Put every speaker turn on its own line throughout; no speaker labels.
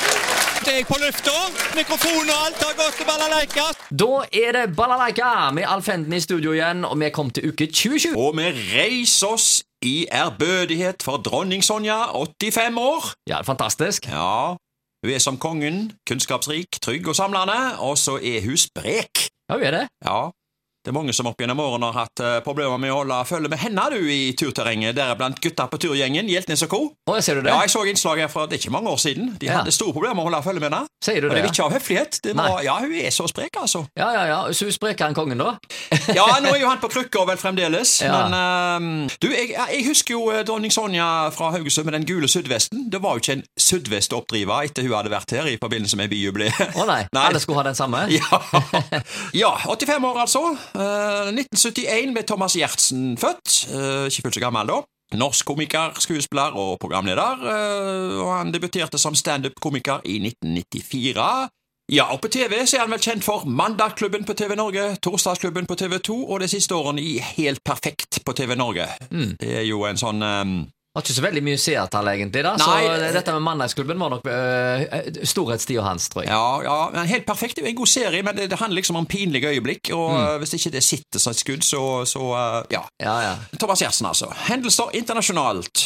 Snart er jeg på lufta. Mikrofon og alt har gått til balalaika.
Da er det balalaika med Alf Henden i studio igjen, og vi er kommet til uke 2020.
Og vi reiser oss i ærbødighet for dronning Sonja, 85 år.
Ja, fantastisk.
Ja, hun er som kongen, kunnskapsrik, trygg og samlende, og så er hun sprek.
Ja, vi er det.
Ja, det er mange som opp gjennom årene har hatt eh, problemer med å holde følge med henne du i turterrenget, deriblant gutta på turgjengen, Hjeltnes og co.
Å, ser du det?
Ja, jeg så innslag her fra det er ikke mange år siden. De
Ja.
hadde store problemer med å holde følge med henne.
Sier du
Og det
det?
er ikke av høflighet. Det
Nei.
var, ja, hun er så sprek, altså.
Ja, ja, ja. Så sprekere enn kongen, da?
Ja, nå er jo han på krykker vel fremdeles,
Ja.
men ehm, Du, jeg, jeg husker jo eh, dronning Sonja fra Haugesund med den gule sudvesten. Det var jo ikke en sudvest å oppdrive etter hun hadde vært her i forbindelse med byjubileet.
Å nei.
Nei.
Alle skulle ha den samme?
Ja. ja, 85 år altså. Eh, 1971 ble Thomas Gjertsen født. Eh, ikke fullt så gammel da. Norsk komiker, skuespiller og programleder. eh, og han debuterte som standup-komiker i 1994. Ja, og på TV så er han vel kjent for Mandagklubben på TV Norge, Torsdagsklubben på TV 2 og de siste årene i Helt perfekt på TV Norge.
Mm.
Det er jo en sånn eh,
Har ikke så veldig mye seertall, egentlig. da Så
Nei.
dette med Mandagsklubben var nok øh, storhetstida hans, tror jeg.
Ja, ja, men helt perfekt. Det er en god serie, men det, det handler liksom om pinlige øyeblikk. Og eh, hvis ikke det sitter som et skudd, så, så eh, ja.
Ja, ja.
Thomas Gjertsen, altså. Hendelser internasjonalt.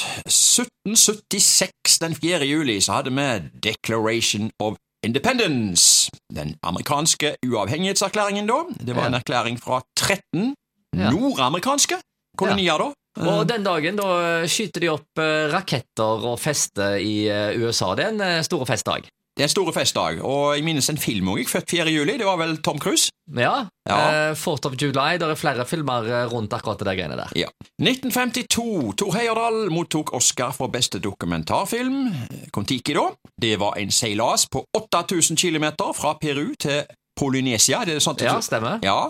1776, den 4. juli, så hadde vi Declaration of Independence. Den amerikanske uavhengighetserklæringen, da. Det var en erklæring fra 13
Ja.
nordamerikanske kolonier, da.
Og den dagen da øh, skyter de opp øh, raketter og fester i øh, USA. Det er en øh, stor festdag.
Det er en stor festdag, og jeg minnes en film også, jeg, født 4. juli. Det var vel Tom Cruise?
Ja.
Ja.
øh, 4th of July. Det er flere filmer øh, rundt akkurat det der greiene der.
Ja. 1952. Tor Heyerdahl mottok Oscar for beste dokumentarfilm. Kon-Tiki, da. Det var en seilas på 8000 km fra Peru til Polynesia. Det er sånt det-
Ja, stemmer.
Ja.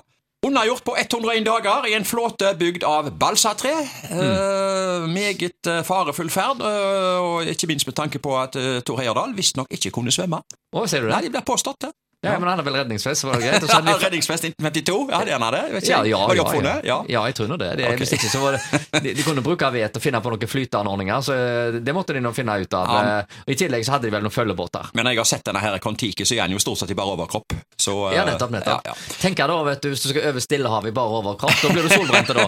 Unnagjort på 101 dager i en flåte bygd av balsatre.
Mm.
Eh, meget eh, farefull ferd, eh, og ikke minst med tanke på at eh, Tor Heyerdahl visstnok ikke kunne svømme.
Å, ser du det?
Nei, det blir påstått, det.
Ja, men han hadde vel redningsfest, så var det greit. Og så hadde vi
Redningsfest 1952, ja, det er han det. Vet ikke
ja, ja,
jeg.
ja,
Var de
ja.
oppfunnet? Ja.
ja, jeg tror nå det. det
Ok.
Hvis ikke så var det de, de kunne bruke vet og finne på noen flyteanordninger, så eh, det måtte de nå finne ut av.
Ja.
Eh, Og I tillegg så hadde de vel noen følgebåter.
Men når jeg har sett denne her Kon-Tiki, så er han jo stort sett i bare overkropp. Så, eh,
Ja, nettopp. nettopp.
Ja,
Tenk deg da, vet du, hvis du skal over Stillehavet i bare overkropp, da blir du solbrent da.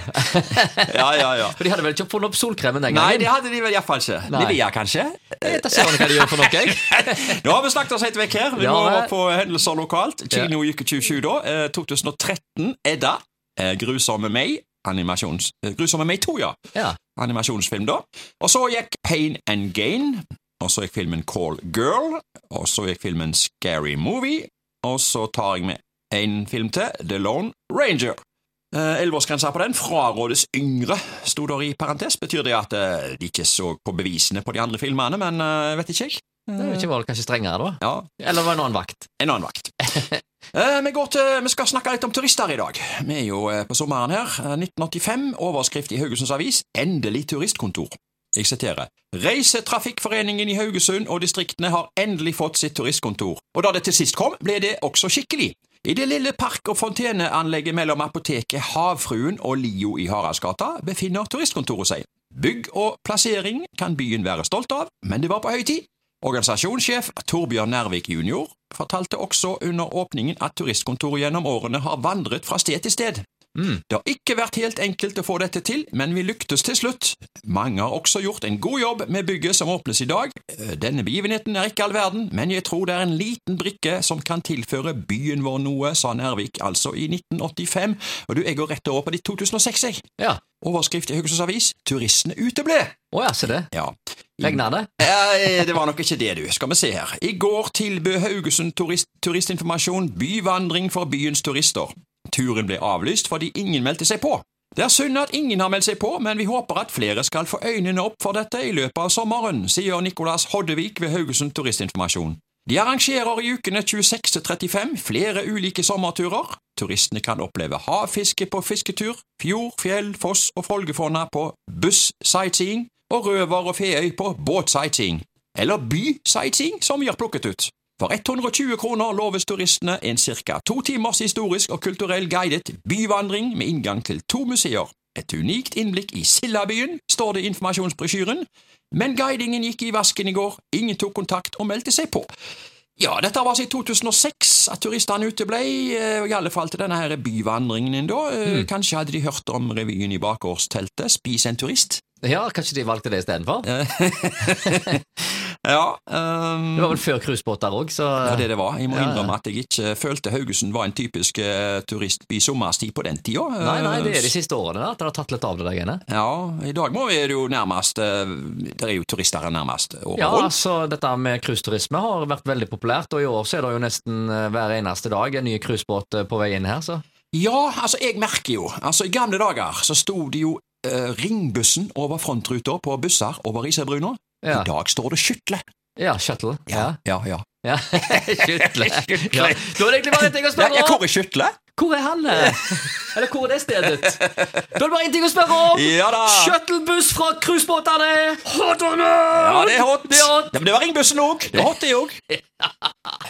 ja, ja, ja.
For de hadde vel ikke funnet opp solkremen den
Nei,
gangen?
det hadde de vel iallfall ikke.
Nei.
Livia, kanskje?
Jeg vet da søren hva de gjør for noe, jeg.
Nå har vi snakket oss helt vekk her. Vi
Ja,
må over
det-
på hendelser lokalt. Kino gikk i 2020, da. Eh, 2013, Edda. Eh, Grusomme meg. Animasjons... eh, Grusomme meg 2, ja.
Ja.
Animasjonsfilm, da. Og så gikk Pain and Gain. Og så gikk filmen Call Girl. Og så gikk filmen Scary Movie. Og så tar jeg med en film til, The Lone Ranger. Eh, Elleveårsgrensa på den frarådes yngre, sto der i parentes. Betyr det at eh, de ikke så på bevisene på de andre filmene, men eh, vet ikke jeg.
Det var ikke vel kanskje strengere da?
Ja,
Eller var det en annen vakt?
en annen vakt. Eh, vi, går til, vi skal snakke litt om turister i dag. Vi er jo eh, på sommeren her. Eh, 1985, overskrift i Haugesunds Avis 'Endelig turistkontor'. Jeg siterer Reisetrafikkforeningen i Haugesund og distriktene har endelig fått sitt turistkontor, og da det til sist kom, ble det også skikkelig. I det lille park- og fonteneanlegget mellom apoteket Havfruen og Lio i Haraldsgata befinner turistkontoret seg. Bygg og plassering kan byen være stolt av, men det var på høy tid. Organisasjonssjef Torbjørn Nærvik jr. fortalte også under åpningen at turistkontoret gjennom årene har vandret fra sted til sted. Det har ikke vært helt enkelt å få dette til, men vi lyktes til slutt. Mange har også gjort en god jobb med bygget som åpnes i dag. Eh, Denne begivenheten er ikke all verden, men jeg tror det er en liten brikke som kan tilføre byen vår noe, sa Nærvik altså i 1985. Og du, jeg går rett over på de 2006, jeg.
Ja.
Overskrift i Haugesunds Avis 'Turistene uteble'.
Å ja, se det.
Ja.
Regner det?
Eh, det var nok ikke det, du. Skal vi se her. I går tilbød Haugesund turist, Turistinformasjon byvandring for byens turister. Turen ble avlyst fordi ingen meldte seg på. Det er synd at ingen har meldt seg på, men vi håper at flere skal få øynene opp for dette i løpet av sommeren, sier Nicolas Hoddevik ved Haugesund Turistinformasjon. De arrangerer i ukene 26 til 35 flere ulike sommerturer. Turistene kan oppleve havfiske på fisketur, fjord, fjell, foss og Folgefonna på buss-sightseeing, og Røver og Feøy på båt-sightseeing. Eller by-sightseeing, som vi har plukket ut. For 120 kroner loves turistene en ca. to timers historisk og kulturell guidet byvandring med inngang til to museer. Et unikt innblikk i Sildabyen, står det i informasjonsbrosjyren. Men guidingen gikk i vasken i går, ingen tok kontakt og meldte seg på. Ja, dette var altså i 2006 at turistene uteble, eh, i alle fall til denne her byvandringen din da. Eh, Kanskje hadde de hørt om revyen i bakgårdsteltet, Spis en turist?
Ja, kanskje de valgte det istedenfor?
Ja, ehm,
Det var vel før cruisebåter òg, så
ja, det det var. Jeg må
Ja, ja.
innrømme at jeg ikke følte Haugesund var en typisk eh, turistby sommerstid på den tida. Eh,
Nei, nei, det er de siste årene da, at det har tatt litt av det der greiene.
Ja, i dag må vi er det jo nærmest eh, Det er jo turister her nærmest året
Ja,
rundt.
altså dette med cruiseturisme har vært veldig populært, og i år så er det jo nesten eh, hver eneste dag en ny cruisebåt eh, på vei inn her, så
Ja, altså, jeg merker jo Altså, i gamle dager så sto det jo eh, ringbussen over frontruta på busser over Iserbruna.
Ja.
I dag står det skytle.
Ja, shuttle. Ja.
ja. ja.
ja. Skytle. Ja. Da er det egentlig bare én ting
Ja, ja,
å spørre
hvor
om.
er skytle?
Hvor er han? eh? Eller hvor er det stedet? Da er det bare én ting å spørre om.
Ja da!
Shuttlebuss fra cruisebåtene! Hot or not?
Ja, det er hot.
Det er hot.
Ja, men det var ringbussen òg. Det var hot, det òg.